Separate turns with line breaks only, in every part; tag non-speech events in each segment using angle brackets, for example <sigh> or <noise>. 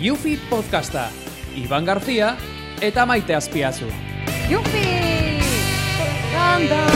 Yufi Podcasta, Iban Garzia eta Maite Azpiazu.
Jupi! Tanda!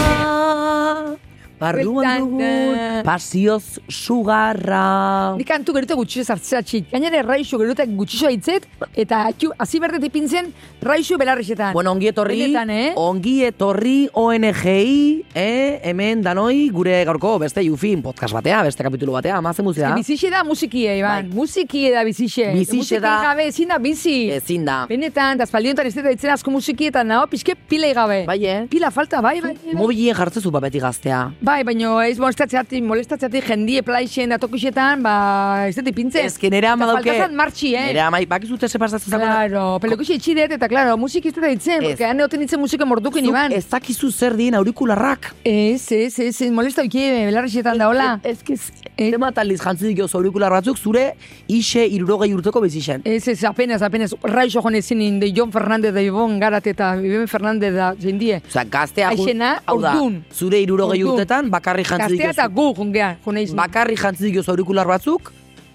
Barruan
eh.
dugun, pasioz sugarra.
Ni kantu geruta gutxixo zartzea txit. Gainera raixo geruta gutxixo aitzet, eta atxu, hazi berdet ipintzen, raixo belarrixetan.
Bueno, ongi etorri,
Benetan, eh?
ongi etorri ONGI, eh, hemen danoi gure gaurko beste Yufin podcast batea, beste kapitulu batea, amazen muzea.
Bizixe da musikie, Iban. Musikie da bizixe.
Bai. Bizixe
Musikin
da-
gabe ezin da bizi.
Ezin da.
Benetan, eta espaldiontan ez dut ditzen asko musikietan nao, pixke pilei gabe.
Bai, eh?
Pila falta, bai, bai. bai.
Mobilien jartzezu papeti gaztea.
Bai, baino ez molestatzeatik, molestatzeatik jendie plaixen da tokixetan, ba, ez dut ipintzen.
Ez que nera ama
Eta
dauke.
faltazan martxi, eh?
Nera ama, bakizute ze pasatzen zako.
Claro, pelukuxe itxi dut, eta claro, musik ez dut ditzen,
Ez.
porque han egoten ditzen musika mordukin, Iban.
Ez dakizu zer dien aurikularrak.
Ez, ez, ez, ez, molesta ukie, belarrixetan da, hola.
Ez que
eh.
zenbat aldiz jantzi dioz aurikular batzuk zure ise irurogei urteko bizixen.
Ez, ez, apenas, apenas, raixo joan ezin inde, Jon Fernandez da Ibon Garat eta Ibon Fernandez da jendie.
Osea, gaztea ju-
Aixena,
hau da,
ordun.
zure irurogei
Ordun.
urtetan bakarrik jantzi
Gaztea
diozu.
eta gu, jungean, joan ezin.
bakarri jantzi diozu aurikular batzuk,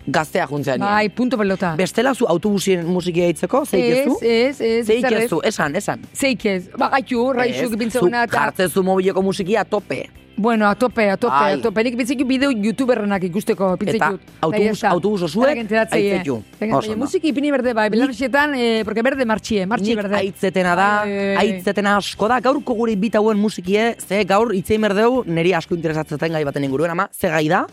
gaztea juntzean.
Bai, punto pelota.
Bestela zu autobusien musikia itzeko, zeik ez
Ez,
zu?
ez, ez,
Zeik
zer
ez
ez.
zu, esan, esan.
Zeik ez, ba, gaitu, raixo
Ez,
gipintzen
zu
guna, eta,
Jartzezu mobileko musikia tope.
bueno, a tope, a tope, a
Bai.
tope. Nik pintzen bideo youtuberrenak ikusteko, pintzen
Eta
jut.
autobus- autobus osuek, aitzekiu. Oso ondo.
Musiki ipini berde, bai, belarrixetan, eh, porque berde martxie, martxie
Nik
berde.
aitzetena da,
Ai, ai, ai, ai.
aitzetena asko da, gaurko gure bita hauen musikie, ze gaur itzein berdeu, niri asko interesatzen gai baten inguruen, ama, ze gai da?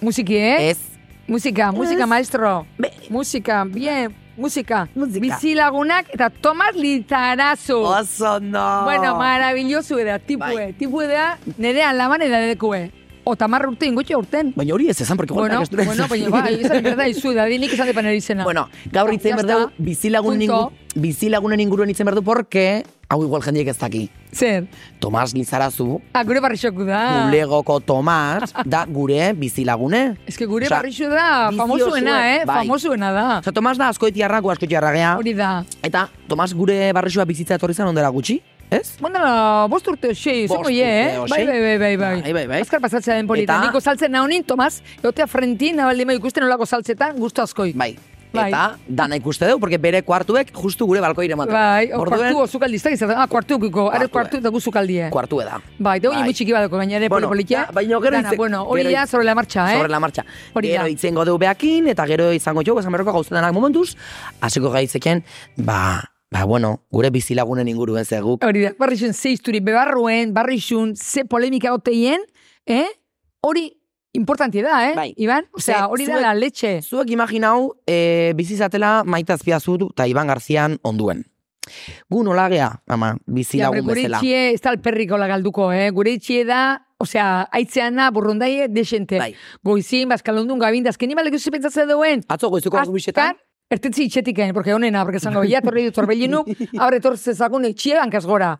Musiki, eh?
Ez.
Musika, musika
Ez.
maestro.
Be-
Musika, bien, musika.
Musika.
Bizilagunak eta Tomas Litarazu.
Oso no!
Bueno, maravilloso da, tipue.
Bai.
Tipue E da, nerean laban edadekue. Otamar E. urte ingotxe urten.
Baina hori ez esan, porque igual
Bueno,
da, ez du-
bueno, baina ba, izan berda izu da, dinik izan depan erizena.
Bueno, gaur itzen
Ya
berdeu,
está.
bizilagunen, ingu,
Punto.
bizilagunen inguruen itzen berdu, porque, hau igual jendiek ez daki.
Zer,
Tomas Lizarazu,
ah, gure barrixoku da.
bulegoko Tomas, da gure bizilagune.
Ez que gure
Osea,
barrixo da,
bizi
famosuena,
osoa-
eh?
bai. Ah.
Famosuena da.
Osa, Tomas da askoitiarra, gu askoitiarra gea.
Hori da.
Eta Tomas gure barrisua bizitza etorri zen ondera gutxi, ez?
Bondala, bost urte osei,
Bost
zongo je, eh?
urte
Bai,
osei.
bai, bai, bai, bai.
Bai, bai, bai.
Azkar pasatzea den polita.
Eta-
Niko saltzen nahonin, Tomas, egotea frentin, nabaldi mai ikusten olako saltzetan, guztu askoi.
Bai.
Bai.
Eta dana ikuste dugu, porque bere kuartuek justu gure balkoire ematen.
Bai, o
Orduen,
kuartu zukaldiztak izaten, ah, kuartu guko, are
Kuartu,
kuartu
eh.
eta gu zukaldie.
kuartue da.
Bai, deu
Bai.
bai. txiki badako, gaina ere bueno,
Bueno,
polipolitia.
da, baina gero
Dana,
hitze-
bueno, hori
gero
da,
hitz-
sobre la marcha, eh?
Sobre la marcha.
Hori da.
Gero itzengo dugu beakin, eta gero izango jo, esan berroko gauzetan momentuz, hasiko gaitzeken, ba, ba, bueno, gure bizilagunen inguruen ze guk.
Hori da, barrixun ze izturi, bebarruen, barrixun, ze polemika goteien, eh? Hori, importanti da, eh?
Bai.
Iban? Osea,
Ze-
hori da
zuek-
la leche.
Zuek imaginau, e, bizizatela Maite Azpiazu eta Iban Garzian onduen. Gu nola gea, ama,
Ja, hombre,
bizilagun
gure
bezala.
itxie ez da alperriko lagalduko, eh? Gure itxie da, osea, aitzeana, burrundaie, desente.
Bai.
Goizin, bazkalondun, gabinda, azken imalek ez pentsatzen duen.
Atzo goizuko ordu bisetan,
Ertetzi itxetiken, porque honena, porque zango, ja, torri du
<laughs>
torbellinu, abre torze zakun etxie eh, bankaz gora.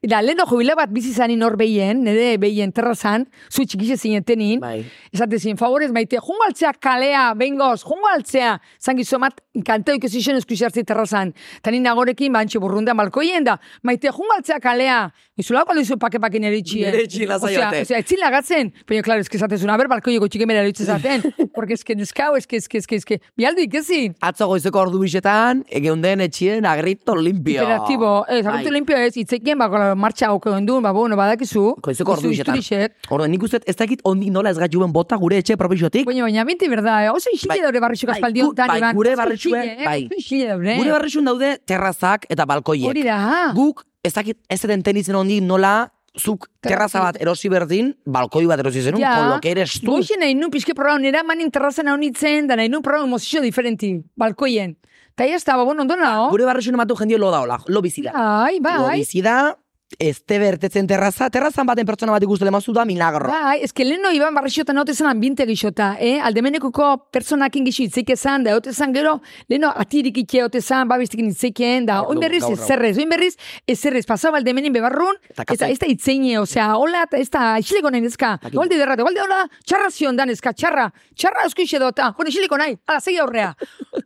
Eta leheno jubile bat bizi zanin hor behien, nede behien terrazan, zu txikixe zinetenin,
Bai.
esate zin, favorez maite, jungo altzea kalea, bengoz, jungo altzea, zangi zomat, kanteo ikusi zen eskuxartzi terrazan. Tani nagorekin, bantxe burrundan balkoien da, maite, jungo altzea kalea, izulako alizu pake-pakin eritxie.
Nire itxi lasai
eh? Osea,
batek.
osea, etzin lagatzen, baina, klaro, eske esatezun, aber balkoieko txikemera
<laughs>
eritxe zaten, porque eske neskau, eske, eske, eske, eske, bialdu ikesi.
atzo goizuko ordu bisetan, egeunden etxien agrito limpio.
Imperatibo, ez,
Bai.
agertu limpio ez, itzekien, ba, kola, martxa hauko gendun, ba, bueno, badakizu.
Goizuko ordu
izu
bisetan.
izturixek.
Orduan, nik uste, ez dakit ondi nola ez gaitu ben bota gure etxe propiotik.
Baina, baina, minti berda, eh? oso isile
Bai.
daure barrixuk
Bai,
aspaldi
gu-
honetan,
bai,
Iban.
gure
Oso
barrixuek,
isile, eh?
bai.
Oso isile daure.
Gure eh? barrixun daude terrazak eta balkoiek.
Hori da.
Guk, ez dakit ez den tenitzen ondi nola, zuk terraza bat erosi berdin, balkoi bat erosi zenun, ja. kolok ere estu.
Goixen nahi nun pixke programa nera manin terrazan hau nintzen, da nahi nun programa emozio diferenti, balkoien. Ta ya estaba, bueno, ondo nao.
Gure barrixun ematu jendio lo daola, lo bizida.
Ai,
Lo
bai.
bizida, este bertetzen terraza, terrazan baten pertsona bat ikusten lemazu da milagro.
Bai, ez que leheno Iban Barrixotan haute zen ambinte gixota, eh? Aldemenekuko personakin gixo itzik ezan, da haute zen gero, leheno atirik itxe haute zen, babestekin itzikien, da,
Ordu,
oin berriz
gaur, gaur.
ezerrez, oin berriz ezerrez, pasaba aldemenin bebarrun,
Eta
eta
kazai.
ez da itzeine, osea, hola, eta ez da isileko nahi neska,
Dakit.
golde derrate, golde hola, txarra zion da neska, txarra, txarra eusko ixe dota, bueno, isileko nahi, ala, segi aurrea.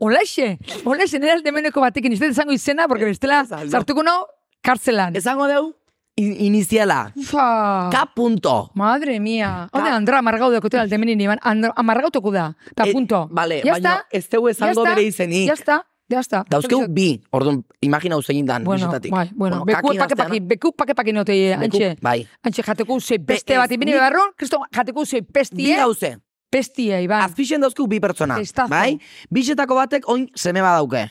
Olaxe, olaxe, nera aldemeneko batekin, izte zango izena, porque bestela,
Ez aldo.
sartuko no, kartzelan.
Ezango deu, in- iniziala.
Bai. Ufa.
K punto.
Madre mia.
Ka-
Hau da, Andra amargau dakote aldemenen iban. Andra- Amargautuko da. Ta
E,
punto.
bale,
Ya
baina
está.
ez dugu esango
Ya está.
bere izenik.
Ya está. Ya está.
Dauzkeu bi, orduan, imagina egin dan,
Bueno,
bisitatik.
bai, bueno, beku
kakin
pake
astean-
paki, beku pake paki note,
Beku-
antxe.
Bai.
Antxe jateko ze beste
Be-
bat,
ez,
ibini
ni-
beharron, kristo jateko ze
Bi
pestie,
gauze,
pestie, Iban.
azpixen dauzkeu bi pertsona.
Testazo.
Bai? Bixetako batek oin seme badauke.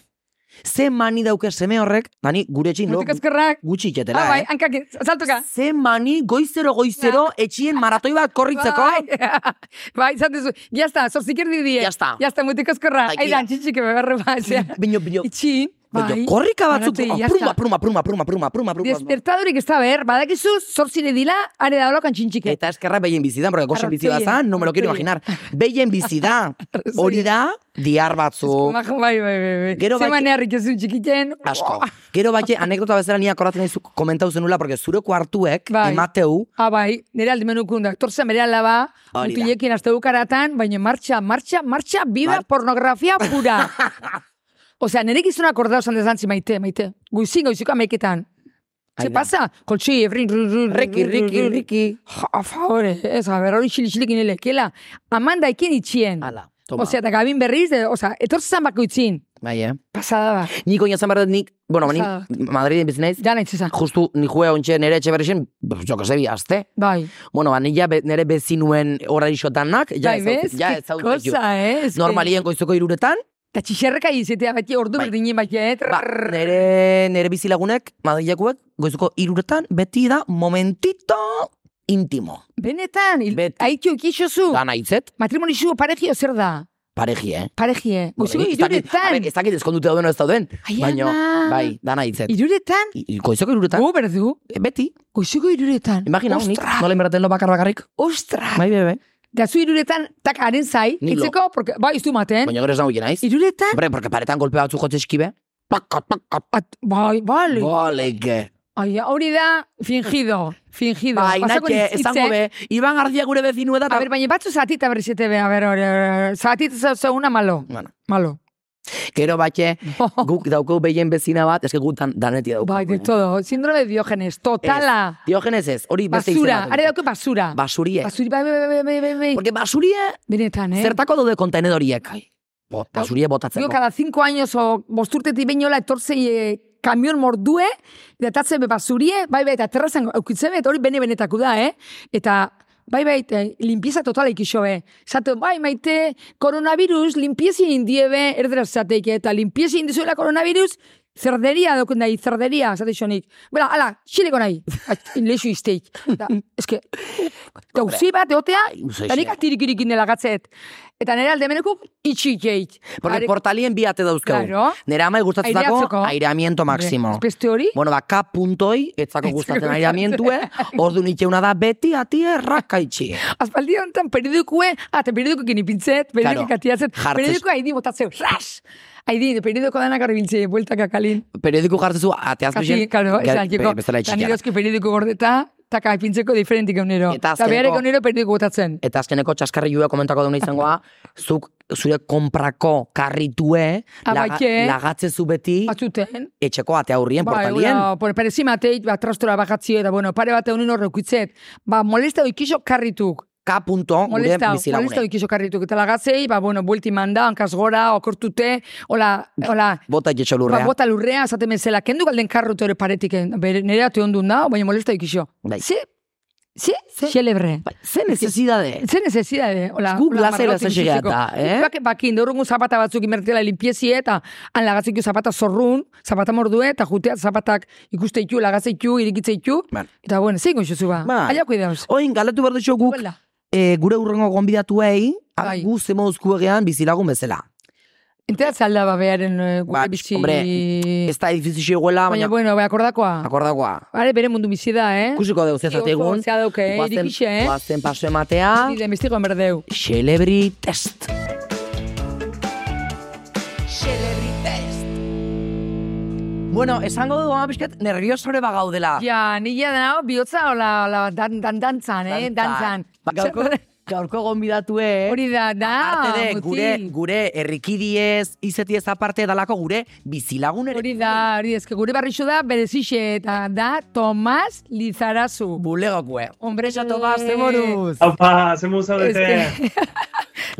Ze mani dauke seme horrek, dani gure etxin lo,
Hortik ezkerrak.
gutxi
Ah,
itxetela,
bai,
eh?
hankak, saltuka.
Ze mani goizero goizero etxien maratoi bat korritzeko.
Bai, <laughs> bai, zaten zu, jazta, zorzik erdi die.
Ya está.
Jazta, mutik ezkerra.
Aikida.
Aidan, txitsik beharre bazea.
Bino, bino,
Itxin,
Baina
bai.
korrika batzuk,
Manotei, ya
pruma,
está.
pruma, pruma, pruma, pruma, pruma, pruma.
Despertadorik ez da behar, badakizu, zortzire dila, are daulokan txintxike.
Eta eskerra behien bizidan, porque gozen bizi
Arratzoien,
bazan, no me lo quiero
arratzoien.
imaginar. Behien bizida, hori da, diar batzuk,
Bai, bai, bai, bai.
Gero bai-
Zeman errik ez du txikiten.
asko. Gero bate, anekdota bezala nia korratzen aizu komentau zenula, porque zure kuartuek,
Bai.
emateu,
Ah, bai, nire aldi menukun da. Aktor zen bere alaba,
Hori da.
mutilekin azte dukaratan, baina martxa, martxa, martxa, biba
Bar-
pornografia
<laughs>
pura. Osea, nire gizuna akordau zan dezantzi maite, maite. Guizin, goiziko ameketan.
Ai
Ze
da.
pasa? Koltsi, efrin, ru, ru, ru,
riki,
ru,
riki,
ru, ru.
riki.
Ja, a favore, ez, a ber, hori xilixilik inelekela. Amanda ekin itxien.
Ala, toma.
Osea, eta gabin berriz, de, osea, etortzen bako itzin.
Bai, eh?
Pasada da.
Nik oin ezan behar dut nik, bueno, ni
Osada.
Madriden bizi naiz,
Ja nahi txezan.
justu ni juea ontxe nere etxe berrixen, jo, kasebi, azte.
Bai.
Bueno, ba, ni ja be, nere bezinuen horra isotanak, ja
bai,
ezaut,
bez?
ja
Ke
ezaut,
Kosa, eh? Ez
Normalien goizoko iruretan,
Eta txixerreka izetea beti ordu
Bai.
berdinen bati, eh?
ba, nere, nere bizilagunek, madilakuek, goizuko iruretan, beti da momentito intimo.
Benetan, il-
Beti.
aitu ikixozu.
Da nahitzet,
Matrimonizu parejio zer da?
pareji, eh?
Parejie. Goizeko
Ez dakit- a
iruretan.
ber, Ez dakit ezkondute dauden o ez dauden,
Ai,
baina,
ama.
bai, da nahitzet.
Iruretan?
I- Goizoko iruretan,
Gu berdu.
eh, beti,
Goizeko iruretan.
imagina, nik,
Ostra,
nola inberten lo bakar bakarrik.
ostra.
Bai, bai, bai.
Da zu iruretan, tak haren zai.
Ni lo.
Itzeko, porque, bai, iztu maten.
Baina gero ez nagoen naiz.
Iruretan?
Hombre, porque paretan golpe batzu jotze eskibe. Paka, paka,
At, bai, bale.
boleke.
Ai, hori da, fingido. Fingido.
Bai,
Pasako
natxe,
nitz-
esango
hitze.
be, Iban Garzia gure bezinue da.
A
ta-
ber, baina batzu zatita berrizete be, a ber, hori, hori, zatita zau zeuna malo.
Bueno,
Malo.
gero <laughs> batxe, guk daukau behien bezina bat, eske gutan daneti daukau.
Bai, de todo. Síndrome de Diógenes, totala.
Diogenes ez, hori beste
Basura,
izena.
are dauke basura.
Basurie.
Basuri, bai, bai, bai, bai, bai, bai.
Porque basurie,
Benetan, eh?
zertako daude kontenedoriek. Bo, basurie
Digo,
botatzeko.
cada cinco años o bosturtetik beinola etortzei eh, kamion mordue, eta tatzen be basurie, bai, bai, eta terrazan eukitzen be, eta hori bene benetako da, eh? Eta Bai, bai, te, limpieza totala ikixo, be. Zato, bai, maite, koronavirus, limpieza indiebe, erdera zateik, eta limpieza indizuela koronavirus, zerderia dokun nahi, zerderia, zate xonik. Bela, ala, xileko nahi, At- lexu izteik. Da, eske, dauzi bat, eotea,
Uze
eta nik
xe.
atirikirikin dela gatzet. Eta nire alde menekuk, itxi jeik.
Porque
Are-
portalien biate dauzkau.
Claro.
Nera amai gustatzeko
Aireatzeko.
aireamiento máximo.
Hombre, Beste hori?
Bueno, ba, K puntoi, etzako gustatzen aireamientue,
<laughs>
ordu nitxeuna da beti ati errakaitxi.
Aspaldi honetan periodikue, ah, eta periodikoekin ipintzet, periodikoek
Claro.
atiatzen,
Jartzen-
periodikoa haidi botatzeu, ras! Haidi, periodiko danak arbiltze, bueltaka kalin.
Periodiko jartzezu, ate azpixen,
Kasi, karo, esan, jeko,
bezala
eta
itxikian.
niroski periodiko gordeta, taka ipintzeko diferentik egunero.
Eta
Eta behar
azkeneko-
egunero periodiko botatzen.
Eta azkeneko txaskarri jue komentako duna izangoa, zuk zure konprako karritue,
Ah,
laga,
Abaike.
lagatzezu beti,
Ah, Batzuten,
etxeko ate aurrien
Ba,
portalien.
eula, por perezimateit, ba, trastora bajatzi, eta bueno, pare bat egunen horrekuitzet, ba, molesta oikizo karrituk,
K punto, gure
molesta, molesta
bizilagunek.
oikizo karrituk, eta lagatzei, ba, bueno, buelti manda, hankaz gora, okortute, hola, hola,
Bota jetxo
Ba,
lurrea.
bota lurrea, esaten bezala, kendu galden karrut hori paretik, eh, bere, nire ate ondun da, baina molesta ikixo.
Bai.
Ze, ze, xelebre.
Bai, Ze necesidade.
Ze necesidade, hola.
Gu
hola,
plazera
margotik
ze xegea
bizitzeko.
da, eh?
Bak, bakin, dorungu zapata batzuk imertela limpiezi eta han lagatzeko zapata zorrun, zapata mordue, eta jutea zapatak ikusteitu, lagatzeitu, irikitzeitu.
Bueno.
Eta bueno, zein goxuzu ba.
Ba.
Aiako idauz.
Oin, galetu behar duzu guk,
Hola.
e, gure urrengo gonbidatuei, a-
Bai.
gu zemo uzku egean bizilagun bezala.
Enteratze alda ba beharen eh, gure
Ba,
bizi...
hombre, Ez da edifizio egoela,
baina,
baina
bueno, bai, akordakoa.
akordakoa.
Bare, bere mundu bizi da, eh?
Ikusiko deu
Oso
zezategun.
gozea dauke, eh,
Guazen-
irikixe, eh?
guazen paso ematea.
Nire investigoen berdeu.
Celebrity test. Bueno, esango dugu ama pixkat nerviosore bagaudela.
Ja, nila da, bihotza, hola, hola, dan, dan, dantzan, eh,
Dantzan.
dantzan.
Ba, gaurko- <laughs> gaurko gonbidatue.
Hori da, da,
Aparte de,
mutil.
gure, gure herrikidiez, izetiez aparte dalako gure bizilagun
<laughs>
ere.
Hori da, hori da, eske gure barrixo da, berezixe, eta da, Tomas Lizarazu.
Bulegokue.
Hombre, eh,
Esatu gaz, zeboruz.
Haupa, zen zaudete.
Eske,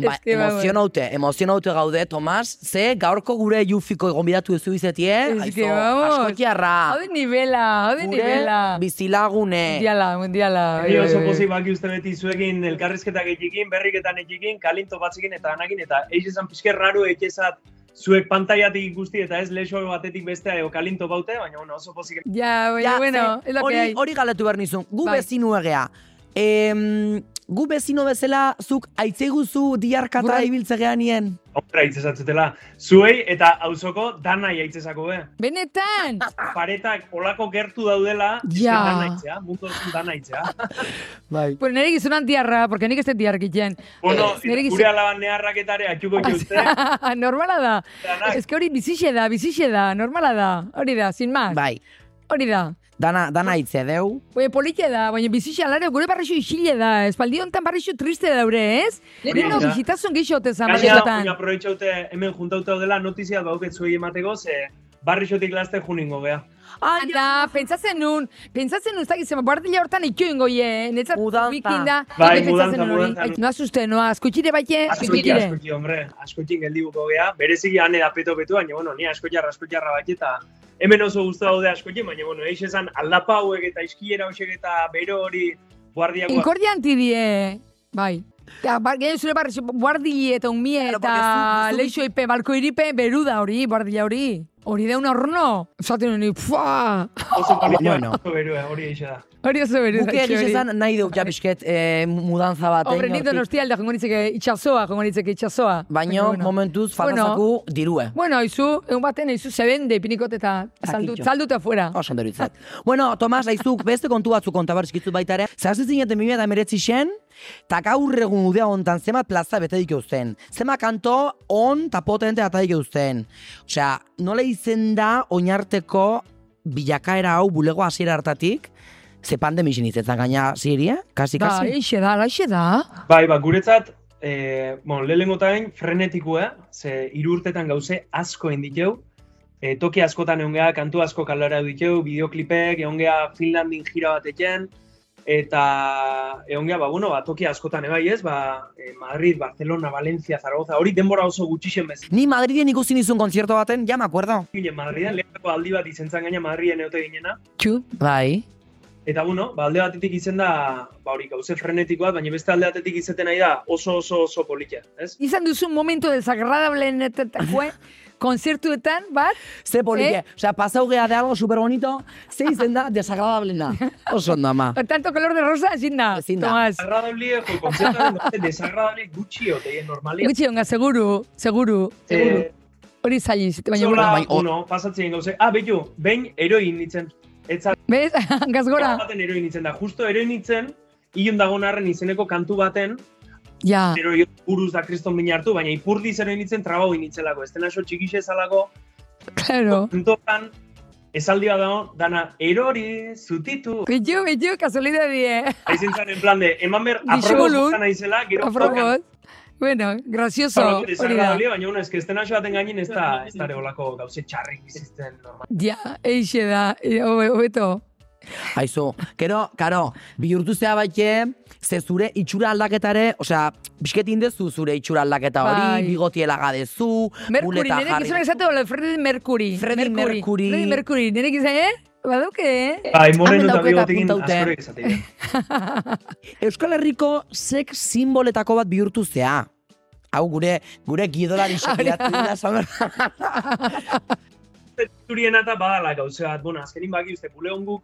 Ba,
<laughs> eske, ba,
emozionaute, emozionaute gaude, Tomas. Ze, gaurko gure jufiko gonbidatu duzu izetie.
eske,
Aizo,
vamos.
askotiarra.
Hau de nivela, hau de nivela.
Gure eh. bizilagune.
Mundiala, mundiala.
Ni oso
bai, bai,
pozik ba- baki uste beti zuekin elkarrizketa gehiagin, berriketan egikin, kalinto batzekin eta anakin, eta eiz esan pixke raro ekezat zuek pantaiatik ikusti eta ez lexo batetik bestea edo kalinto baute, baina bueno, oso pozik
bai. Ja, baina,
Ja,
bueno,
ze,
es lo que
hori,
hay.
hori galetu behar nizun, gu
Bai.
bezinu egea. Em, gu bezino bezala, zuk aitziguzu diarkata
Gurra-
ibiltzegean nien.
aurra itzesatzutela. Zuei eta auzoko danai aitzesako, be.
Benetan!
Paretak olako gertu daudela, eske
Ja.
danaitzea, mundu
<laughs>
oso danaitzea.
Bai.
Pues nire gizonan diarra, porque nik ez dut diarkitzen.
bueno,
Eh, nire
gure
gizon...
alaban neharraketare
<laughs>
atxuko jute,
normala da.
Danak.
Ez que hori bizixe da, bizixe da, normala da. Hori da, sin más.
Bai,
Hori da.
dana, dana hitze deu.
Oie, politxe da, baina bizixe alare, gure barrixo isile da, espaldi honetan barrixo triste daure, ez?
Hori
Leno,
da.
bizitazun gixotezan,
Gaina, oin
barrixotan.
aprobetxaute hemen juntauta daudela notizia bauket zuei emateko, ze barrixotik laste juningo gea.
Anda, pentsatzen nun, pentsatzen nun, ez dakit, zema, bardila hortan ikio ingo ie, eh? netzat
Mudanza.
wikinda.
Bai,
nik pentsatzen
mudanza,
nun hori.
mudanza.
Ai, Noa zuzte, noa, askutxire baite,
Askoki,
pikitire.
askoki, hombre, askokin geldibuko gea, bereziki ane da peto petu, baina, bueno, ni askotiarra, askotiarra bat eta hemen oso guztu daude askokin, baina, bueno, eix esan aldapa hauek eta iskiera hoxek eta bero hori guardiakoa.
Inkordia antidie, bai. Eta, bar, gehiago zure barri, guardili eta umie eta
Claro, porque zu- zu-
leixo ipe, balko iripe, beru da hori, guardila hori. Hori deun horno. Zaten honi, pfua!
Oso politia,
Bueno.
oso beroa, hori eixa da.
Hori oso beru da.
Buke
etxe
egiz
Bai, hori. Bai.
esan nahi duk japisket eh, mudanza bat.
Hombre,
eh,
nik
hortik.
donosti alda, jongo nitzeke itxasoa, jongo nitzeke itxasoa.
Baino, momentuz, fanazaku dirue.
Bueno, izu, egun baten, izu zebende pinikot eta saldu,
Dakitxo.
salduta fuera.
Oso ondo
<laughs>
iruditzen zait. Bueno, Tomas, aizuk, beste kontu batzuk kontabarrizkitzu baita ere. Zehazte zineten 2008 xen, eta gaur egun udea hontan zenbat plaza bete dik eusten. Zenbat kanto on eta potente eta dik eusten. Osea, nola izen da oinarteko bilakaera hau bulego hasiera hartatik, ze pandemixin izetan gaina ziria, kasi,
Ba,
kasi.
eixe da, laixe da.
Bai, ba, guretzat, e, bon, lehenengo tain, frenetikua, ze hiru urtetan gauze asko egin ditugu, e, toki askotan egon geha, kantu asko kalara ditugu, bideoklipek, egon geha Finlandin jira batekin, eta egon geha, ba, bueno, ba, toki askotan ebai ez, ba, e, Madrid, Barcelona, Valencia, Zaragoza, hori denbora oso gutxixen bez.
Ni Madriden ikusi nizun konzierto baten, ja, me acuerdo.
Ginen Madridan, lehenko aldi bat izentzan gaina Madriden eote ginena,
Txu.
Bai.
Eta bueno, ba, alde batetik izen da, ba hori, gauze frenetikoa, baina beste alde batetik izeten nahi da oso oso oso politia, ez?
Izan duzu momento desagradable
<laughs>
netetakue, konzertuetan, bat,
Ze polike,
Eh?
osea, pasau geha de algo super bonito, ze izen da
<laughs>
desagradablena. Oso ondo, ama.
Tanto color de rosa ezin da.
Ezin da.
Tomás.
Desagradable, jo, kontzertaren gauze desagradable gutxi oteien normalia.
Gutxi onga, seguru, seguru.
Eh,
Hori zaili, zite, baina
Zola,
bueno.
bai, o-
uno, pasatzen gauze, ah, betu, behin eroin nintzen. Etzal,
<laughs> Bez, hankaz gora.
baten eroin nintzen da, justo eroin nintzen, hilon dagon arren izeneko kantu baten,
Ja,
eroi buruz da kriston bine hartu, baina ipurdiz eroin nintzen trabau nintzelako, ez dena so txikixe zalako,
claro.
entokan, esaldia dago, dana, erori, zutitu,
Bitu, bitu, kasualidad die.
Aizen zan, en plan de, eman ber,
Disimulo.
apropos zan aizela, gero
Apropos. Bueno, gracioso.
Zorro,
Hori da.
baina bueno, eske estena baten gainin ez da, ez da regolako gauze txarrik bizitzen normal.
Ja, eixe da, e, hobe- hobeto.
Aizu, gero, karo, bihurtu zea baite, ze zure itxura aldaketare, osea, bisket indezu zure itxura aldaketa hori,
Bai.
bigotiela gadezu,
Mercury,
muleta
nire gizonak
jarri.
esatu, hola, Freddie Mercury.
Freddie Mercury.
Freddie Mercury, nire gizonak, eh? Badauke, eh?
Bai, moreno
Hemen
eta
dauketa
bigotekin
apuntaute.
askorek esatea.
<laughs>
Euskal Herriko sex simboletako bat bihurtu zea. Hau gure, gure
<laughs>
gidolari sekiratu da, esan behar-
Zurien eta badala gauze bat, bueno, azkenin baki uste buleon guk,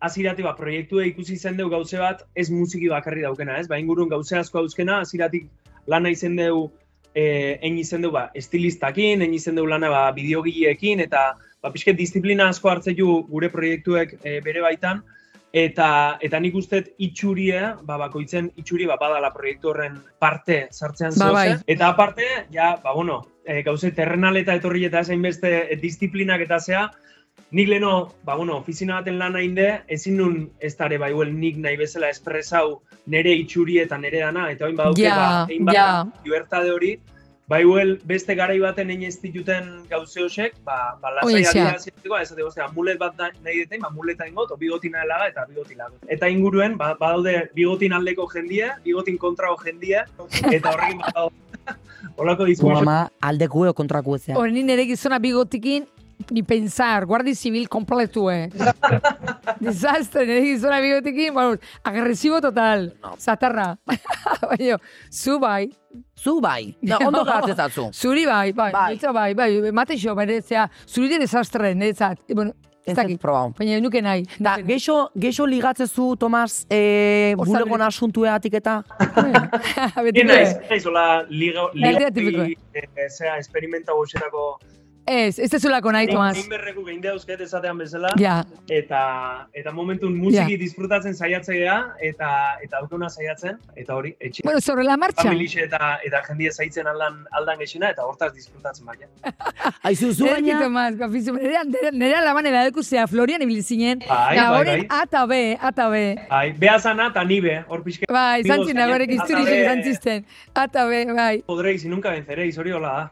azirati ba, proiektua ikusi izen deu gauze bat, ez musiki bakarri daukena, ez? Ba, ingurun gauze asko dauzkena, aziratik lana izen deu, eh, egin izen deu, ba, estilistakin, egin izen deu lana, ba, bideogileekin, eta, ba, pixket disiplina asko hartze ju gure proiektuek eh, bere baitan, eta, eta nik uste dut itxurie, ba, bakoitzen itxuri, ba, badala proiektu horren parte sartzean
Ba,
zeuzen.
bai.
Eta eh, aparte, ja, ba, bueno, e, gauze terrenal eta etorri eta esain beste e, eh, disiplinak eta zea, Nik leno, ba, bueno, ofizina baten lan hain de, ezin nun ez dare bai huel nik nahi bezala espresau nere itxuri eta nere dana, eta hain badauke,
Ja,
ba, egin bat,
ja.
libertade hori, bai huel beste garai baten egin ez dituten gauze hosek, ba, ba lasai
Oin xa.
adia zirtiko, ez dut, ostia, mulet bat da, nahi deten, ba, muleta ingo, to bigotina helaga eta bigotina. Eta inguruen, ba, badaude bigotin aldeko jendia, bigotin kontrao jendia, eta horrekin <laughs> badau, holako
Zu
dizuazo
ama aldekue o kontrakuezea.
Hori ni nire gizona bigotikin, ni pensar, guardi zibil kompletu,
<laughs>
eh. Desastre, nire gizona bigotikin, bueno, agresibo total, zatarra. <laughs> Baina, zu bai,
Zu bai, da,
<laughs>
ondo jartzetatzu.
zuri bai, bai,
Bai.
bai, bai, bai, mateixo, bere, zera, zuri de desastre, niretzat, E, bueno, ez dakit,
Ez dakit probau.
baina nuke nahi.
Da,
nuke nahi.
geixo, geixo ligatzezu, Tomas, e,
Osasun-
bulegon asuntueatik eta?
<laughs> Beti
Ni naiz,
ere.
naiz, hola, liga,
Berdea
liga,
tipikoa.
eh, zera, esperimenta goxetako
Ez, ez dezulako nahi, Tomas.
Egin berreku gein dauzket esatean bezala,
Ja,
eta, eta momentun musiki disfrutatzen saiatzea, eta, eta aukuna saiatzen, eta hori, etxe.
bueno, sobre la marcha.
Familixe eta, eta jendia zaitzen aldan, aldan gexena, eta hortaz disfrutatzen baina.
<laughs> Aizu, zu
Nire
baina,
Tomás, papizu, nire, nire, nire alaban edadekusea, Florian ibili zinen.
Bai,
Da,
bai,
hori,
bai.
ata be, ata be.
Ai, behazana Bai, eta nibe, hor pixke
Bai,
Digo,
zantzina,
zaila-
gorek
ata
izturixek
be.
zantzisten. Ata be, bai.
podreiz, y nunca venceréis, hori hola da.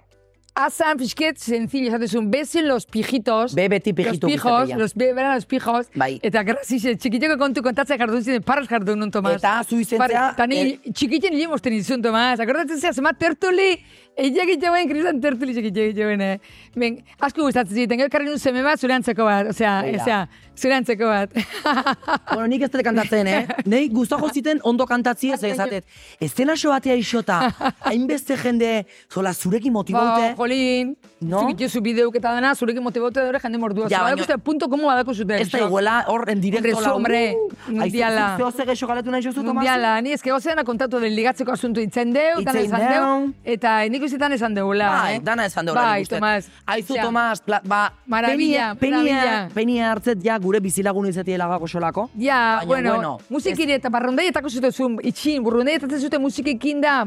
Azan, pixket, sencillo, esatezun, besen los pijitos.
be beti
Los
pijitu
pijos,
gizatela.
los be, beran los pijos.
Bai.
Eta gerra zize, txikiteko kontu kontatzea jardun ziren, parras jardun nun, Tomás.
Eta zu izentzea,
Parras, Eta ni,
eh,
txikitzen hile mozten izun, Tomás. Akordatzen zea, zema tertuli, eiak itxeuen, kristan tertuli txikitzen itxeuen, eh. Ben, asko gustatzen ziten, gero karri nun seme bat, zure antzeko bat, osea,
Hori da.
osea, zure antzeko bat.
<laughs> bueno, nik ez dut kantatzen, eh?
<laughs>
Nei guztago ziten ondo kantatzi ez ezatet. Estena xo
<laughs>
batea isota, hainbeste jende, zola zurekin
Ba,
motibaute.
jolín,
No?
no? zubitxu bideuk eta dana, zurekin motibote dure jende mordua.
Ja,
Ja,
baina-
baina... punto komo badako zuten.
Ez da iguala, hor, en
Hombre,
direkto
zu,
lau.
hombre, mundiala.
Aizu, zeo ze geixo galetu nahi jozu, Tomas?
Mundiala, ni ezke gozena kontatu den ligatzeko asuntu itzen deu,
Itzen
dana esan
deu.
deu, eta nik uzitan esan deula.
Bai,
eh?
dana esan deura.
Bai, Tomas.
Aizu,
Osea,
Tomas, pla, ba,
Maravilla,
penia,
maravilla.
penia hartzet ja gure bizilagun izatiela ba, gako solako.
Ja,
Baina,
bueno,
bueno,
musikiri eta barrondaietako zuten zuen, itxin, burrundaietatzen zuten musikikin da,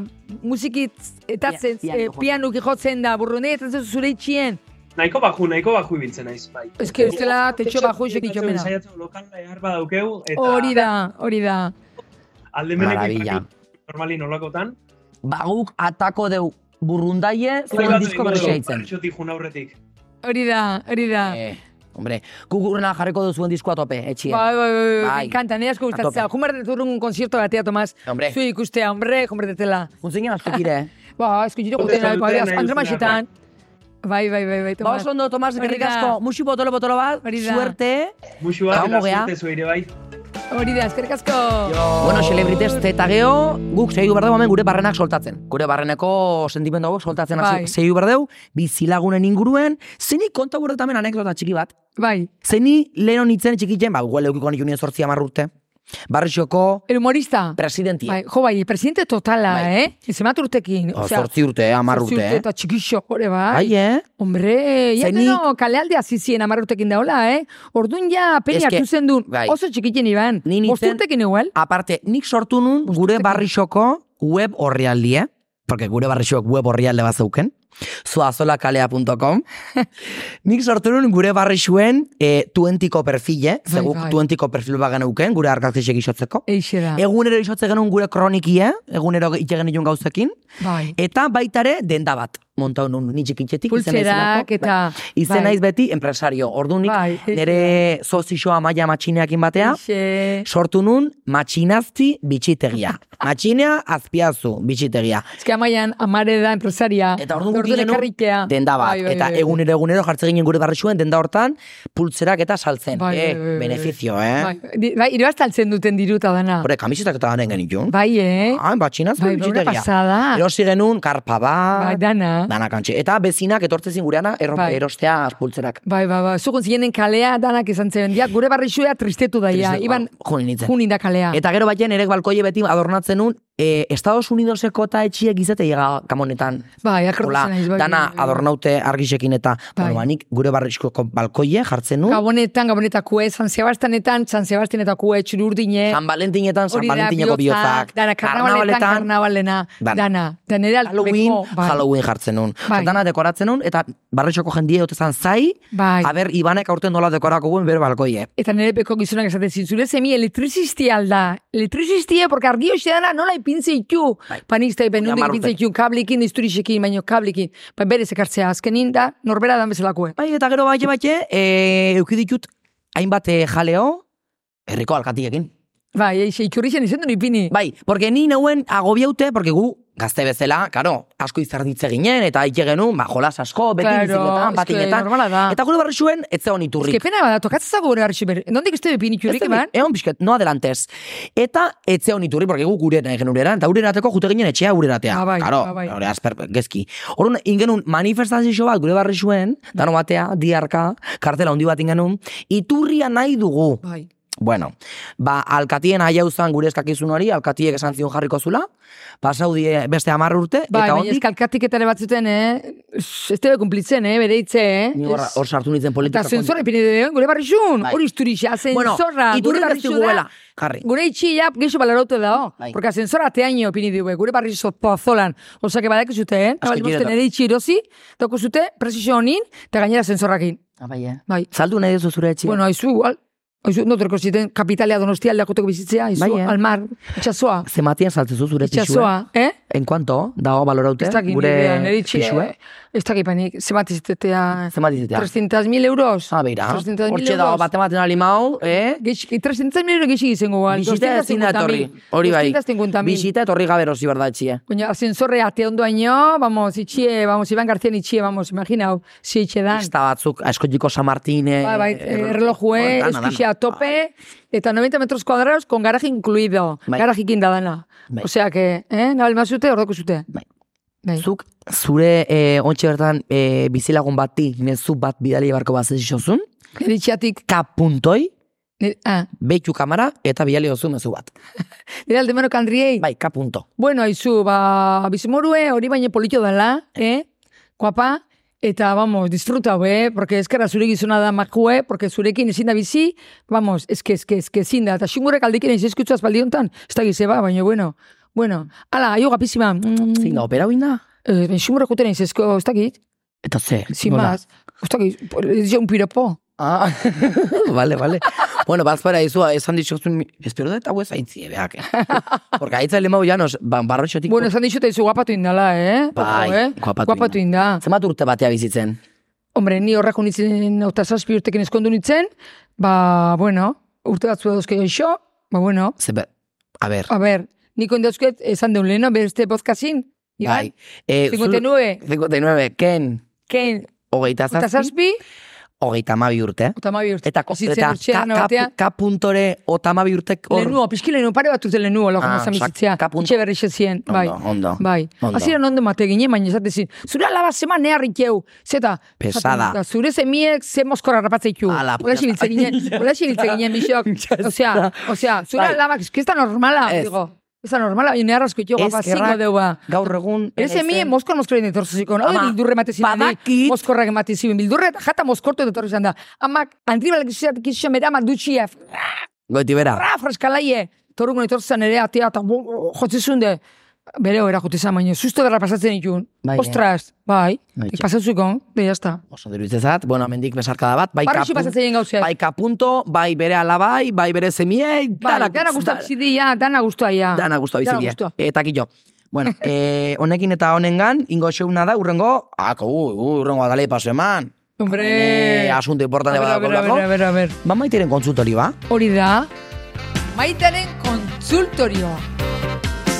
musikitatzen, yeah,
Pia- piano
yeah,
jotzen.
pianuk jotzen da, burrundaietatzen zure itxien.
Nahiko baju, nahiko baju ibiltzen naiz, bai.
Ez que bestela tetxo baju isek
Saiatzen
itxomena.
saiatzen lokan behar badaukeu, eta
Hori da, hori da.
Maravilla.
aldemeneko normalin olakotan.
Ba, guk atako deu burrundaie, zuen disko berria itzen.
Bertxotik jun aurretik.
Hori da, hori da.
Eh, hombre, guk urrena jarriko du zuen diskoa tope, etxie.
Bai, bai, bai, bai,
Bai.
me encanta, nire asko
A
gustatzea.
tope.
Jumar dut urrun konzierto batea, Tomás.
Hombre.
Zu ikustea, hombre, jumar dutela.
Juntzinen aztukire.
Ba, esku jiro guten
Jute
nahi, bai,
dutena,
andre
nahi
maixetan. Bai, bai, bai, bai,
Ba,
<laughs> Tomás.
oso ondo, Tomas,
Hori
gerrik
da.
asko, musi botolo botolo bat,
Hori da.
suerte.
Muxu bat,
Gaur
eta
gea.
zuerte zuire bai.
Hori da, eskerrik asko.
Bueno, celebrites eta geho, guk segidu behar dugu hemen gure barrenak soltatzen. Gure barreneko sentimendu hauek soltatzen
Bai.
hasi segidu behar dugu, bizilagunen inguruen, zeni konta gure tamen anekdota txiki bat.
Bai,
Zeni leheno nintzen txikitzen, ba, guel eukiko nik unien sortzi amarrurte. Barrixoko
el humorista.
presidentia.
Bai, jo, bai, presidente totala,
Bai.
eh? Izemat urtekin.
O, sortzi urte, amarrurte,
zortzi urte
eh?
Eta txikixo, hore, bai.
Bai, eh?
Hombre, ia
Zenik-
deno kalealde hasi ziren amarrutekin daola, eh? Orduan ja
Eske,
peña hartu zen duen,
bai.
oso txikiten iban.
Ni nintzen-
Bosturtekin igual.
Aparte, nik sortu nun gure barrixoko web horrialdi, eh? Porque gure barrixok web horrialde bat zeuken.
<laughs>
Zuazolakalea.com Nik sortu nun gure barrixuen e, tuentiko perfile,
Bai,
zeguk
bai.
tuentiko perfil bat geneuken, gure arkazisek isotzeko.
Eixe da.
Egunero isotze genuen gure kronikie, egunero itxegen genuen gauzekin.
Bai.
Eta baitare denda bat, montau nun, ni txikitxetik, izena
Pultserak
izenako.
eta-
Bai. Izena
bai.
iz beti empresario. Ordu nik
Bai, eixe
nire zozixoa maia matxineakin batea,
Eixe.
sortu nun matxinazti bitxitegia. Matxinea azpiazu bitxitegia.
Ez que amaian, amare da empresaria.
Eta orduan guk
Orduan
ginen
ekarritea.
denda bat.
Bai, bai,
eta
bai, bai.
egunero egunero jartzen ginen gure barrisuen denda hortan pultzerak eta saltzen.
Bai, bai,
eh,
bai, bai.
benefizio, eh?
Bai, di- bai irabaztaltzen duten diruta dana.
Hore, kamisetak eta garen genitun.
Bai, eh?
Ah, matxinazti
Bai, bai, una
bitxitegia.
pasada.
Erosi genuen karpa bat.
Bai, dana.
Dana kantxe. Eta bezinak etortzezin gureana erro,
Bai.
erostea pultzerak.
Bai, bai, bai. Zugun zinenen kalea danak izan zen. Ja, gure barrixua tristetu daia.
Triste-
Bai, Iban,
ba, junin nintzen.
junin da kalea.
Eta gero batean ere e, balkoie beti adornatzen nun, eh, Estados Unidoseko eta etxiek izate llega kamonetan.
Bai, akordu
Hola,
zen Naiz bai,
dana
bai, bai.
adornaute argixekin eta
Bai.
bueno, ba, nik gure barrizkoko balkoie jartzen nu.
Gabonetan, gabonetakoe, San Sebastianetan, San Sebastianetakoe, txururdine,
San Valentinetan,
eh,
San
hori da,
Valentineko bihotzak,
Dana, karnabaletan, karnabalena,
Dana.
dana. Dana, ere
Halloween,
albeko, bai.
Halloween jartzen nun.
Bai.
Bai. Dana dekoratzen nun, eta barretxoko jendie hote zan zai,
Bai.
aber Ibanek aurten nola dekorako guen bere balkoie.
Eta nire peko gizonak esaten zintzure, zemi elektrizistia alda. Elektrizistia, porque argi hoxe dana nola ipintze iku.
Bai.
Panik zaipen
Baina
nondik
hamar
ipintze
urte.
iku, kablikin, izturixekin, baino kablikin. Ba, berez ekartzea, azkenin da, norbera dan bezalakue.
Bai, eta gero bate bate, e, eukiditut hainbat eh, jaleo, herriko alkatiekin.
Bai, eixe ikurrixen izen duen ipini.
Bai, porque ni nauen agobiaute, porque gu gazte bezala, karo, asko izarditze ginen, eta ike genuen, ba, jolas asko, beti
Claro,
biziletan,
eske
patinetan.
normala da.
Eta gure barri zuen, ez zegoen
Ez que
iturrik.
pena bada, tokatzago gure hartxe bere. Nondik uste ipini ikurrik,
Ez
eman?
zegoen- Egon pixket, no adelantez. Eta ez zegoen iturrik, porque gu gure nahi genurera, eta urerateko jute ginen etxea ureratea.
Ah, bai,
karo,
ah, bai.
hori asper, gezki. Horren, ingenun manifestazio bat gure barri zuen, dano batea, diarka, kartela handi bat ingenun, iturria nahi dugu.
Bai.
Bueno, ba, alkatien aia uzan gure eskakizun hori, alkatiek esan zion jarriko zula, pasau die beste hamar urte,
Bai,
eta
baina
ondik,
eskalkatik eta ere batzuten, eh? Ez tebe kumplitzen, eh? Bere hitze, eh?
ni hor,
Ez-
hor sartu nintzen
Eta
politika.
zenzorra ipini dugu, eh, gure barrixun,
Bai.
hori isturixa,
bueno,
zenzorra, gure
iturri ez
barrixu
diguela,
da.
jarri.
Gure itxi ja geixo balaraute dago.
Bai.
Porque ascensora año opini dube, gure barri pozolan. Osa, que badak zute, eh?
Asko
Nabalimosten
kirela.
ere itxi erosi, doko zute, presizio honin, eta gainera ascensorrakin.
Abai, eh.
Bai.
Zaldu nahi duzu zure etxia.
Bueno, haizu, al, haizu, no terko ziten kapitalea donostia aldakoteko bizitzea, haizu,
Bai, eh.
almar, itxasoa,
Zematian saltzezu zure pixua.
itxasoa, eh?
En kuanto, dago baloraute,
Ez dakit
gure
nire, nire itxi,
pixua.
eh? Ez dakit panik, zemat izatetea...
Zemat izatea?
300.000 euros.
Ah, beira.
300.000
Hortxe dago
euros.
bate baten alimau, eh?
Geix- 300.000 euro geixi gizengo guan.
Bisita ezin da etorri. Hori bai.
250.000.
Bisita etorri gabe erosi berda etxie.
Coño, ascensorre ate ondo baino, vamos, itxie, vamos, Iban García itxie, vamos, imaginau, si itxe dan.
Pista batzuk, askoliko San Martin, eh,
Bai, bai,
erro-
erlojue,
Dana, dana.
eskixea a tope, eta 90 metros cuadrados con garaje incluido.
Bai.
Garajikin da dana.
Bai.
O sea que, eh, nabel mazute, ordoko zute.
Bai.
Bai.
Zuk zure e, ontxe bertan e, bizilagun bati mezu bat bidali barko bat zizozun,
Nire itxiatik,
ka puntoi,
nire, ah,
behitu kamara eta bidali ozu mezu bat.
nire aldemano kandriei.
Bai, ka punto.
Bueno, aizu, ba, bizimorue, hori baino politio dela, eh? Guapa, eta, vamos, disfrutau, eh? Porque eskerra zure gizona da makue, porque zurekin ezin da bizi, vamos, eske, eske, eske ezin da. Eta xingurek aldekin ez eskutzu azpaldiontan, ez da gizeba, baina, bueno, bueno. Ala, aio gapizima. Mm,
Zein da, opera huina?
Eh, ben, xingurek uten ez ezko, ez dakit,
Eta ze?
sin
nola?
más. Ez dakit, ez ja un piropo.
Ah, <laughs> vale, vale. bueno, bazpara izua, esan dizozun, espero da eta huez aintzie behak. eh. Porque aitza lemau janos, ban, ba, barroxotik.
Bueno, esan dixote izu guapatu indala, eh?
Bai,
Ojo, eh?
guapatu
guapatu inda.
Zemat urte batea bizitzen?
Hombre, ni horrak unitzen eta zazpi urtekin eskondu nintzen, ba, bueno, urte batzu dauzke gaixo, ba, bueno,
Zebe, a ber,
a ber, niko indauzket esan deun leheno beste podcastin, Iban,
bai. Eh, zul-
59,
59, ken,
ken,
hogeita
eta
zazpi,
zazpi,
hogeita mabi urte.
eta ma bi urte.
Eta, ko-
Bizitzen
eta
urtxea,
ka,
dana
ka,
batea,
ka puntore otama biurtek hor.
lehenua, pixki lehenua, pare bat urte lehenua, lako
Ah,
ah,
sak-
bizitzea,
kapun-
etxe berri xezien, bai.
Ondo, ondo.
Bai,
Ondo.
hasieran ondo mate ginen, baina esatezin, zure alaba zema neharrik eu, zeta.
Pesada.
esaten dut, Zure zemiek ze moskorra rapatzeiku.
Ala,
Ola xibiltze
<laughs>
ginen,
pesada.
ola xibiltze ginen,
<laughs>
bixok. Osea, osea, zure
Bai.
alabak, eski ez da normala,
Ez.
digo. Ez da normala, baina neharrazko itio guapa, zingo
Ezkerrak
deua.
Gaur egun.
Ere zemien moskor moskor egin etorri zikon, hau
Ama,
bildurre emate ziren,
badakit.
moskorrak emate ziren, bildurre eta jata moskortu etorri izan da. Amak, antribalak izatik izan bera, amak dutxia,
Goiti bera.
Ra, freskalaie! Torukun etortzen zen ere, atea, eta bo- bo- jotzizun de, bere hori jote zan, baina susto dara pasatzen ikun.
Bai, eh?
Ostras, bai,
Bai,
ik pasatzukon, de jazta.
Oso diruzezat, bueno, mendik besarkada bat, bai
Barrixu
kapun-
pasatzen gauzea.
bai kapunto, bai bere alabai, bai bere semiei,
Bai,
danak-
dana guztua bizidia, dana guztua ia.
Dana guztua bizi
Ah, Dana
die. Eh,
guztua.
Eta kilo.
<laughs>
Bueno, eh, honekin eta honengan, ingo xeuna da, ah, urrengo, ako, u, u, urrengo adalei paso eman.
Hombre,
Eh, asunto importante
a
bat
ver, a ver, a ver, a
daukagulako.
ver, a ver.
Ba maiteren kontsultori, ba?
Hori da, maitaren konsultorioa.
Bai.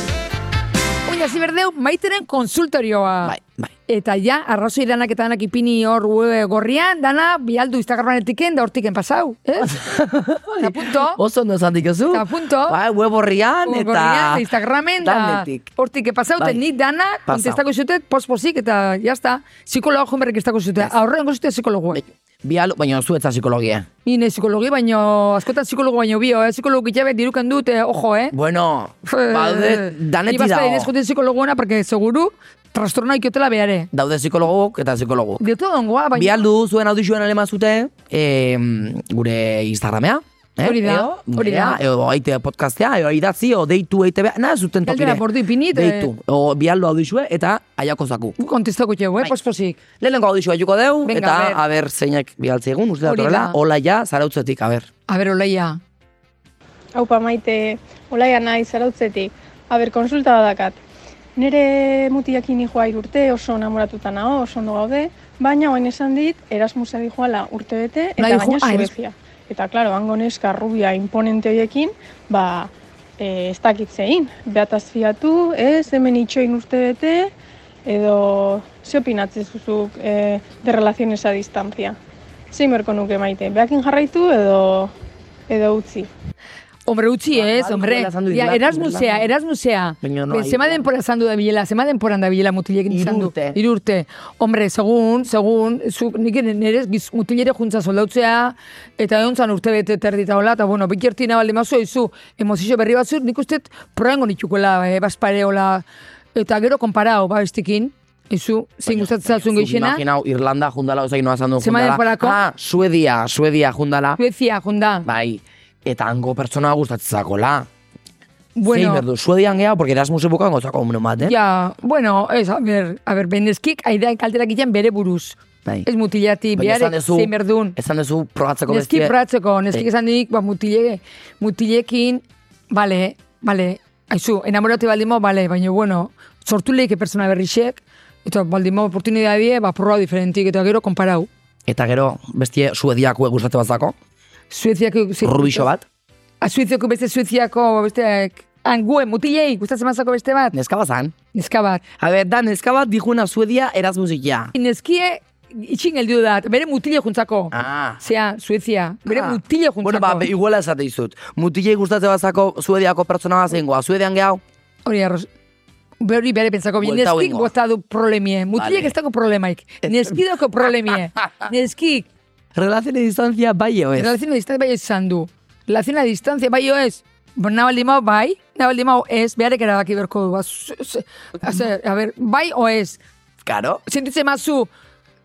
Oina, ziberdeu, maitaren konsultorioa.
Bai, bai.
Eta ja, arrazoi lanak eta danak ipini hor web gorrian, dana, bialdu Instagrametiken da hortiken pasau,
<laughs>
ez? Eta punto.
Oso ondo esan dikozu.
Oh. Eta punto.
Bai, web horrian,
Eta...
eta...
Instagramen, da,
Danetik.
hortik epazauten
Bai.
nik dana,
Pasau.
kontestako zutet, pospozik, eta jazta, psikologo jumberrik estako zute, aurrean gozute psikologo.
Bai. Bialo, baina zu etza
<laughs>
psikologia.
Ni nahi psikologi, baino, askotan psikologo baino bio, eh? psikologo itxabet diruken dut, eh, ojo, eh?
Bueno, baude, danetik
Ni bazta
ba, dago.
ere psikologoena, porque seguru, trastornoa ikiotela behare.
Daude psikologok eta psikologok.
Diote dongoa, baina...
Bialdu zuen audizioan aleman zute, eh, gure Instagramea. Eh?
Hori da,
Eo,
hori da.
nirea, Eo, aite podcastea, eo, idatzi, o, deitu, eite, beha, nahi zuten tokire.
Galdera bordu ipinit, eh.
Deitu, o, bialdu audizue eta aiako zaku.
Gu kontestako txegu,
Bai.
eh, pospozik.
Lehenengo audizua juko deu,
Venga,
eta
a
aber zeinak bialtzi egun, uste
Hori
datorrela,
da.
hola ja, zarautzetik, aber.
A ber, oleia.
Haupa maite, olaia nahi zarautzetik. Aber, konsulta badakat. Nire mutiakin joa urte oso namoratuta nao, oso ondo gaude, baina oain esan dit, Erasmusa di joala urte bete, eta
Nahi jo-
baina
ah, Erasmus.
Suezia. Eta, klaro, hango neska rubia imponente horiekin, ba, e, ez dakitzein. Beataz fiatu, ez, hemen itxoin urte bete, edo, ze opinatzen zuzuk e, de relaciones a distancia. Zein berko nuke maite, beakin jarraitu edo, edo utzi.
Hombre, utzi ez,
bai,
hombre.
duela esan du
Ja,
Idola,
Erasmusea,
Idola.
Erasmusea.
Baina no,
Be, Zema
Idola.
denpora esan du da bilela, zema denporan da bilela mutilekin izan du.
Irurte.
Irurte. Hombre, segun, segun, zu, nik ere nire giz- mutilere juntza soldautzea, eta egon zan urte bete terdi eta hola, eta bueno, bikierti nabaldi mazo, izu, emozio berri batzu, nik uste proengo nitukuela, e, baspareola, eta gero konparao, ba, bestikin, izu, zein gustatzen zaizun geixena,
Imaginau, Irlanda jundala, ozak noa zan du
Zema
jundala.
denborako?
Ah, Suedia, Suedia jundala.
Suezia, jonda.
Bai, eta hango pertsona gustatzezakola. Bueno. Zein
bueno,
berdu, Suedian geha, porque Erasmus epokan gozako homen bat, eh?
Ja, bueno, ez, a ber, a ber, beneskik aidean kalterak egiten bere buruz.
Bai.
Ez mutilati,
Baina
behar,
esan duzu-
zein berdun.
Esan duzu probatzeko
Neskik
bestie-
pratzeko, neskik
Bai.
esan dik, ba, mutile, mutilekin, bale, bale, haizu, enamorate baldimo, bale, baina, bueno, sortu lehike pertsona berrixek, eta baldimo oportunidadie, ba, proba diferentik, eta gero konparau.
Eta gero, bestie suediako gustatu bazako,
Sueziako...
rubixo bat,
A, Sueziako beste Sueziako, beste... Angue, mutilei, gustatzen mazako beste bat.
neska bazan.
Neska bat.
A ber, da, neska bat dijuna Suedia Erasmusikia.
Neskie itxin heldu da, bere mutile juntzako.
Ah.
Zea, Suezia, bere mutile juntzako.
Bueno, ba, be- iguala esate izut. Mutile gustatzen bazako Suediako pertsona bat zein goa. Suedian gehau,
Hori arroz. Beri bere pentsako bien,
Buelta
neskik
egingo.
bota du problemie. Mutilek
Vale.
ez dago problemaik.
<laughs>
Neski dago problemie. Neskik,
relazione distantzia bai eo ez.
relazioa distantzia bai esan du. Relazioa distantzia bai jo ez. Nabaldimau bai, nabaldimau ez, beharek erabaki berko du. Ba, zu-
<laughs>
ze- ze- a ber, bai o ez.
Karo.
sentitzen mazu,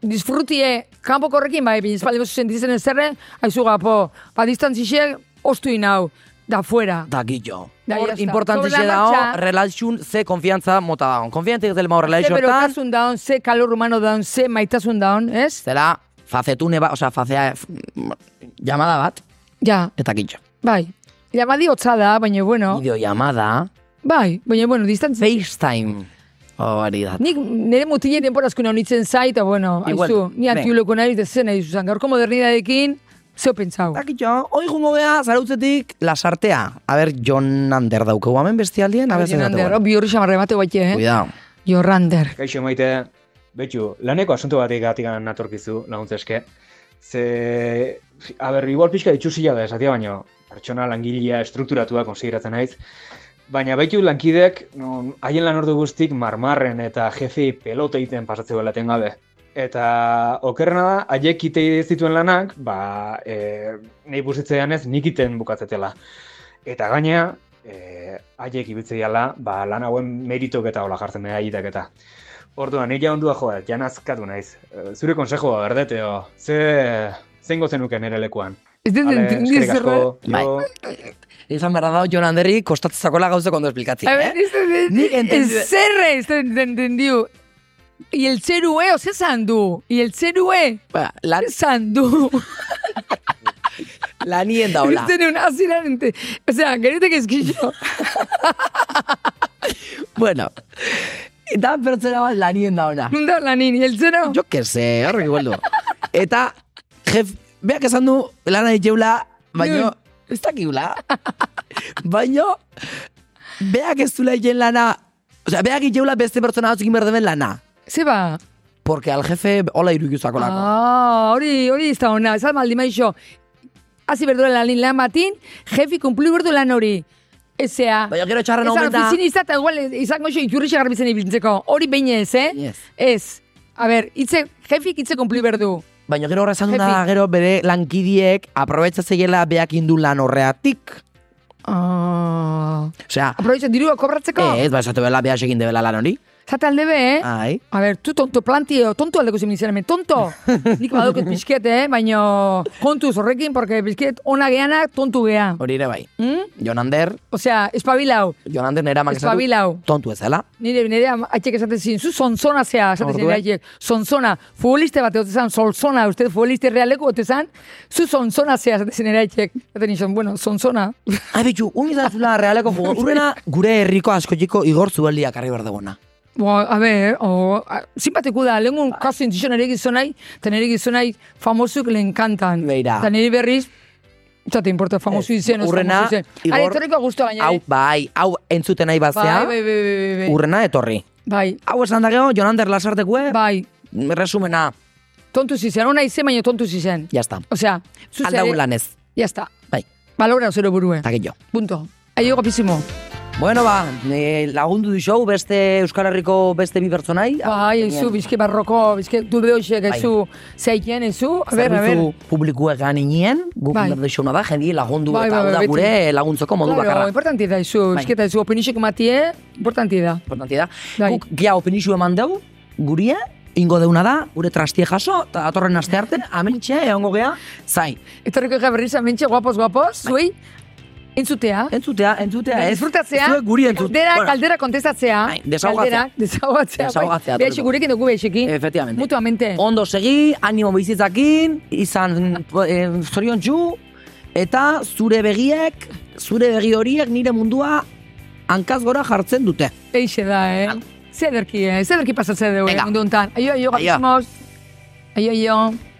disfrutie, kanpo korrekin, bai, baina espaldi mazu sentitzen ez zerre, haizu gapo, ba, distantzisek, ostu inau, da fuera.
Da, gillo.
Da, ya
Hor,
está.
importantixe
Sobre la
dao,
marcha.
relaxun ze konfiantza mota daun. Konfiantik del mau
Ze
relaxortan,
berotasun daun, ze kalor humano daun, ze maitasun daun, ez?
zela, fazetune bat, osea, fazea, f- m- llamada bat,
Ja,
eta gillo.
bai. Llamadi hotza da, baina bueno,
Video llamada,
bai, baina bueno, distantzia.
FaceTime. Hori Mm. Oh, da.
Nik nire mutile denporazkuna honitzen zait, eta bueno,
Igual,
haizu, ni
venga.
antiuleko nahi dezen nahi zuzan, gaurko modernidadekin, zeo pentsau.
Ba, Dakitxo, hoi jungo beha, zarautzetik, lasartea. A ber, John Ander daukegu hemen bestialdien, a ber, zein
Jorrander,
daukegu.
bi horri xamarre bate bat, eh?
Cuidao.
Jorrander.
Kaixo maite, betxu, laneko asunto batik gatik natorkizu laguntzeske. Ze, a ber, igual pixka itxusila da esatia baino, pertsona langilea estrukturatua konsideratzen naiz. Baina baitu lankidek, non, haien lan ordu guztik marmarren eta jefi pelota egiten pasatzeko laten gabe. Eta okerrena da, haiek ite zituen lanak, ba, e, nahi busitzean ez nik iten bukatzetela. Eta gainea, e, haiek ibiltzeiala, ba, lan hauen meritok eta hola jartzen dira aietak eta. Orduan, nire ondua joa, jan eh, azkatu naiz. E, Zure konsejoa, berdeteo, ze... Zengo zenuke nire lekuan.
Ez dut
Ale,
entendi
eskerrik
zerra.
asko,
Bai.
jo,
Izan behar da, John Anderri kostatzezakola gauzak ondo esplikatzen,
A
eh?
ver, esto de...
Nik entendiu-
Zerre, esto entendiu. Y el zerue, ose zan du. Y el zerue,
Ba,
<laughs>
lan,
zan
<laughs>
du. <laughs>
lanien daula.
Ez denun, aziran ente. O sea, geretek <laughs> eskixo.
bueno, eta pertsona bat lanien daula.
Nunda lanin, y el
<laughs>
zero.
Jo que se, horrek igual du. Eta, jef, beak esan du, lana ditxeula, baino, ez dakigula. baino, beak ez dula egin lana, osea, beak itxeula beste pertsona batzukin berdemen lana.
Zeba.
Porque al jefe hola irukiuzakolako.
Ah, hori, hori ez da ona. Ez almaldi maixo. Hazi berdura lanin lan batin, jefi kumplu berdu lan hori. Ezea.
Baina gero txarren
Ez
omen da.
ofizinista eta igual izango xe iturri xagarbitzen ibiltzeko. Hori behin ez, eh?
Yes.
Ez. A ber, itze, jefik itze kumpli berdu.
Baina gero horra esan du da,
Jefi.
gero bere lankidiek aprobetsa zeiela beak indu lan horreatik.
Ah.
Osea,
Aprovecha dirua kobratzeko?
ez, ba, esatu bela beha egin debela lan hori.
Za talde be, eh?
Ai.
A ber, tu tonto plantio, tonto aldeko ziminizaren, tonto! Nik baduket pixket, eh? Baina kontuz horrekin, porque pixket ona geanak tontu gea.
Hori ere bai.
Mm?
Jonander,
Osea, espabilau,
Jonander nera
espabilau.
Tontu ezela.
Nire, nire am- aitek esaten zin, zu zonzona zea, esaten zin,
Orduen.
aitek, zonzona, futboliste bat egote zan, solzona, uste futboliste realeko egote zan, zu zonzona zea, esaten zin, nire aitek, esaten nizan, bueno, zonzona.
Ai, bitxu, un izan
<laughs>
zula realeko jugo. Urrena, gure herriko askotiko igor zubeldiak arri berdegona.
Bo, a ber, o, a- simpatiko da, lehengun kasu intzizio nire gizonai, eta nire gizonai famosuk lehen kantan.
Beira.
Eta nire berriz, eta te importa, famosu izen, oz
Urrena,
famosu izen. Hara,
Igor-
etorriko guztua gaina,
Hau,
eh?
bai, hau entzuten nahi bazea.
Bai, bai, bai, bai, bai, bai,
Urrena etorri.
bai,
Hau esan da geho, Jonander lasartekue,
bai,
resumena,
tontu zizen, ona izen, baina tontu zizen.
jazta.
Osea, zuzere...
Aldau lanez.
Ya está.
Bai,
Valora zero burue.
eta gehiago.
Punto. Aio guapísimo.
Bueno, ba, e, lagundu du show beste Euskal Herriko beste bi pertsonai.
Bai, ezu, bizki barroko, bizki du behoxek, ezu, zeikien, ezu. A ber, a ber.
Zerbitzu publikuek ganinien, guk
Bai.
bai. dexuna da, jendi lagundu
Bai,
eta
bai,
hau
bai,
da
beti. Bai,
gure laguntzeko modu
Claro,
bakarra.
importanti da, ezu,
Bai.
bizki eta ezu, opinixek matie, importanti da.
Importanti da.
Bai.
Guk gia opinixu eman dugu, guria, ingo deuna da, gure trastie jaso, eta atorren aste arte, amentxe, egongo gea, zai.
Etorriko ega berriz, mentxe, guapos, guapos, zuei, entzutea.
Entzutea, entzutea, Bai. ez.
Disfrutatzea.
Zuek guri entzutea.
Galdera, galdera kontestatzea.
Bai, desahogatzea.
Galdera, desahogatzea.
Desahogatzea,
bai. Behexek,
etorriko.
gurekin dugu behexekin.
Efectivamente.
Mutuamente.
Ondo segi, animo bizitzakin, izan eh, zorion txu, eta zure begiek, zure begi horiek nire mundua hankaz gora jartzen dute.
Eixe da, eh? Zederki, eh? Zederki pasatzea dugu, eh,
Venga.
mundu honetan. Aio, aio, guapisimos. Aio, aio.